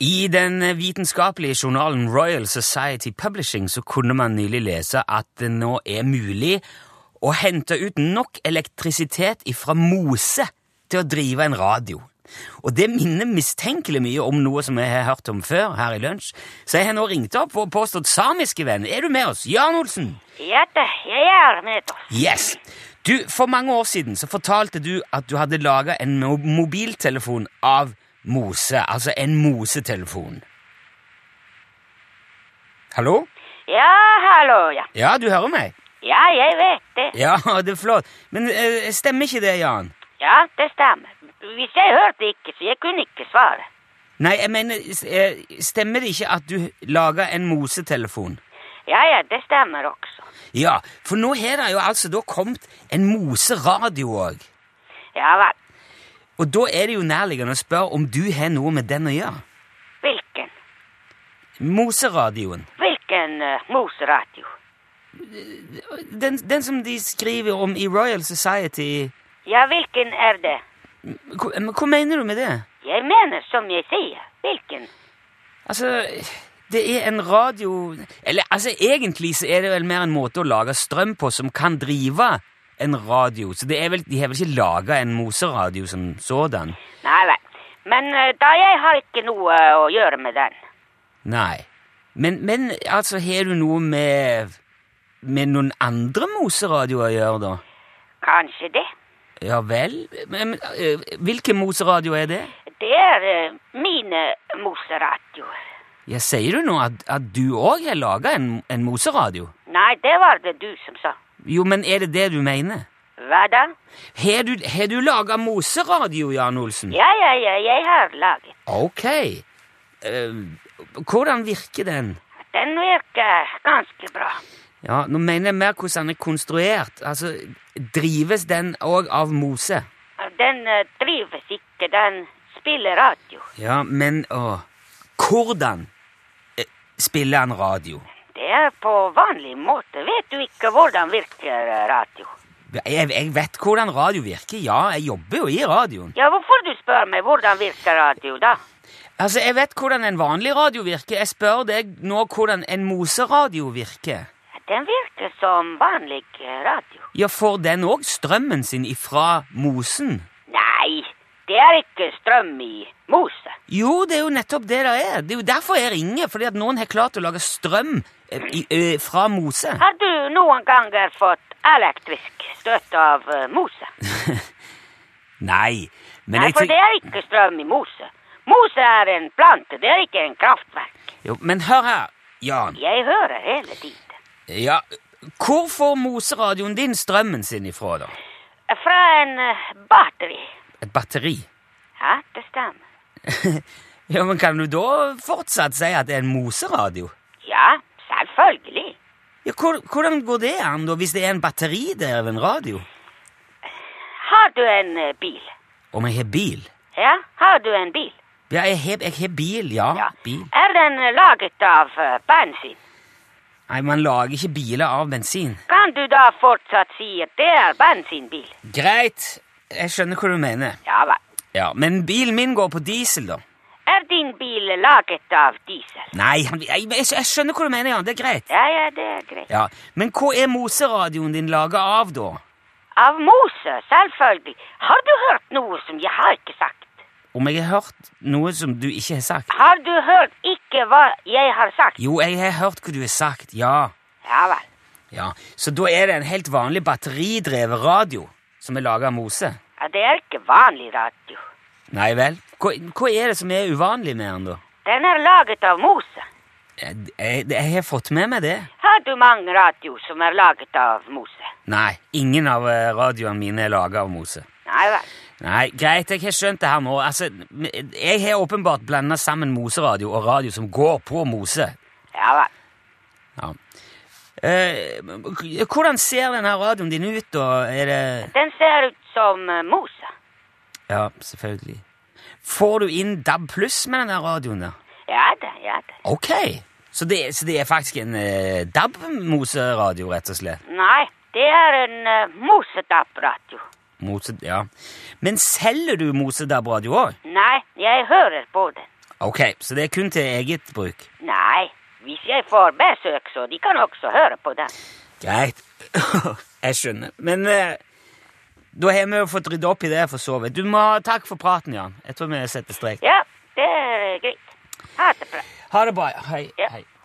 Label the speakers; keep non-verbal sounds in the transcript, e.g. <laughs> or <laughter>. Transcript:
Speaker 1: I den vitenskapelige journalen Royal Society Publishing så kunne man nylig lese at det nå er mulig å hente ut nok elektrisitet ifra mose til å drive en radio. Og det minner mistenkelig mye om noe som jeg har hørt om før her i lunsj, så jeg har nå ringt opp vår påstått samiske venn. Er du med oss? Jan Olsen?
Speaker 2: Ja da, jeg er med da.
Speaker 1: Yes! Du, For mange år siden så fortalte du at du hadde laga en mo- mobiltelefon av mose. Altså en mosetelefon. Hallo?
Speaker 2: Ja, hallo, ja.
Speaker 1: Ja, du hører meg?
Speaker 2: Ja, jeg vet det.
Speaker 1: Ja, <laughs> det er flott. Men eh, stemmer ikke det, Jan?
Speaker 2: Ja, det stemmer. Hvis jeg hørte ikke, så jeg kunne ikke svare.
Speaker 1: Nei, jeg mener, s- eh, stemmer det ikke at du laga en mosetelefon?
Speaker 2: Ja, ja, det stemmer også.
Speaker 1: Ja, for nå har det jo altså da kommet en moseradio òg.
Speaker 2: Ja vel,
Speaker 1: Og da er det jo nærliggende å spørre om du har noe med den å gjøre.
Speaker 2: hvilken?
Speaker 1: Moseradioen.
Speaker 2: Hvilken eh, moseradio?
Speaker 1: Den, den som de skriver om i Royal Society
Speaker 2: Ja, hvilken er det?
Speaker 1: hva, men hva mener du med det?
Speaker 2: Jeg mener som jeg sier. Hvilken?
Speaker 1: Altså, det er en radio Eller altså, egentlig så er det vel mer en måte å lage strøm på som kan drive en radio. Så det er vel, de har vel ikke laga en moseradio som sådan?
Speaker 2: Nei vel. Men eh, da jeg har ikke noe eh, å gjøre med den.
Speaker 1: Nei. Men, men altså, har du noe med med noen andre moseradioer å gjøre, da?
Speaker 2: Kanskje det.
Speaker 1: Ja vel? Men, men, øh, hvilken moseradio er det?
Speaker 2: Det er eh, mine moseradioer.
Speaker 1: Ja, Sier du nå at, at du òg har laga en, en moseradio?
Speaker 2: Nei, det var det du som sa.
Speaker 1: Jo, men er det det du mener?
Speaker 2: Hva da?
Speaker 1: Har du, har du laga moseradio, Jan Olsen?
Speaker 2: Ja, ja, ja, jeg har laget.
Speaker 1: Ok. Eh, hvordan virker den?
Speaker 2: Den virker ganske bra.
Speaker 1: Ja, Nå mener jeg mer hvordan den er konstruert. Altså, Drives den òg av mose?
Speaker 2: Den eh, drives ikke, den spiller radio.
Speaker 1: Ja, men å, Hvordan eh, spiller han radio?
Speaker 2: Det er på vanlig måte. Vet du ikke hvordan virker eh, radio?
Speaker 1: Jeg, jeg vet hvordan radio virker. Ja, jeg jobber jo i radioen.
Speaker 2: Ja, hvorfor du spør meg hvordan virker radio, da?
Speaker 1: Altså, Jeg vet hvordan en vanlig radio virker. Jeg spør deg nå hvordan en moseradio virker.
Speaker 2: Den virker som vanlig eh, radio.
Speaker 1: Ja, Får den òg strømmen sin ifra mosen?
Speaker 2: Nei, det er ikke strøm i mose.
Speaker 1: Jo, det er jo nettopp det det er. Det er jo derfor jeg ringer, fordi at noen har klart å lage strøm eh, i, eh, fra mose.
Speaker 2: Har du noen ganger fått elektrisk støt av eh, mose?
Speaker 1: Nei, men
Speaker 2: Nei,
Speaker 1: jeg
Speaker 2: for det
Speaker 1: tenk-
Speaker 2: er ikke strøm i mose. Mose er en plante, det er ikke en kraftverk.
Speaker 1: Jo, Men hør her, Jan.
Speaker 2: Jeg hører hele tiden.
Speaker 1: Ja, hvor får moseradioen din strømmen sin ifra, da?
Speaker 2: Fra en eh, batteri.
Speaker 1: Et batteri?
Speaker 2: Ja, det stemmer.
Speaker 1: Ja, men Kan du da fortsatt si at det er en moseradio?
Speaker 2: Ja, selvfølgelig.
Speaker 1: Ja, hvor, Hvordan går det an, da, hvis det er en batteridreven radio?
Speaker 2: Har du en eh, bil?
Speaker 1: Om jeg har bil?
Speaker 2: Ja, har du en bil?
Speaker 1: Ja, jeg har, jeg har bil, ja.
Speaker 2: Ja.
Speaker 1: Bil.
Speaker 2: Er den eh, laget av eh, bensin?
Speaker 1: Nei, man lager ikke biler av bensin.
Speaker 2: Kan du da fortsatt si at det er bensinbil?
Speaker 1: Greit, jeg skjønner hva du mener.
Speaker 2: Ja vel.
Speaker 1: Ja, Men bilen min går på diesel, da.
Speaker 2: Er din bil laget av diesel?
Speaker 1: Nei, han, jeg, jeg, jeg skjønner hva du mener, Jan. Det er greit.
Speaker 2: Ja, ja, det er greit.
Speaker 1: Ja, Men hva er moseradioen din laga av, da?
Speaker 2: Av mose, selvfølgelig. Har du hørt noe som jeg har ikke sagt?
Speaker 1: Om jeg har hørt noe som du ikke har sagt?
Speaker 2: Har du hørt ikke hva jeg har sagt?
Speaker 1: Jo, jeg har hørt hva du har sagt, ja.
Speaker 2: Ja vel.
Speaker 1: ja. Så da er det en helt vanlig batteridrevet radio som er laga av mose?
Speaker 2: Ja, det er ikke vanlig radio.
Speaker 1: Nei vel? Hva, hva er det som er uvanlig med den, da?
Speaker 2: Den er laget av mose.
Speaker 1: Jeg, jeg, jeg har fått med meg det.
Speaker 2: Har du mange radio som er laget av mose?
Speaker 1: Nei, ingen av eh, radioene mine er laga av mose.
Speaker 2: Nei vel.
Speaker 1: Nei, greit, jeg har skjønt det her nå. Altså, jeg har åpenbart blanda sammen moseradio og radio som går på mose.
Speaker 2: Ja vel.
Speaker 1: Ja. Eh, hvordan ser denne radioen din ut, da? Er det
Speaker 2: Den ser ut som eh, mose.
Speaker 1: Ja, selvfølgelig. Får du inn DAB pluss med denne radioen der?
Speaker 2: Ja da, ja da.
Speaker 1: Ok! Så det, så det er faktisk en eh, DAB-moseradio, rett og slett?
Speaker 2: Nei, det er en uh, mosedapp-radio.
Speaker 1: Mose, ja. Men selger du mosedab-radio òg?
Speaker 2: Nei, jeg hører på den.
Speaker 1: Ok, så det er kun til eget bruk.
Speaker 2: Nei, hvis jeg får besøk, så de kan også høre på den.
Speaker 1: Greit. <laughs> Jeg skjønner. Men eh, da har vi jo fått rydda opp i det for så vidt. Du må ha takk for praten, Jan. Jeg tror vi setter strek.
Speaker 2: Ja, det er greit. Ha det bra.
Speaker 1: Ha det bra. Hei.
Speaker 2: Ja.
Speaker 1: Hei.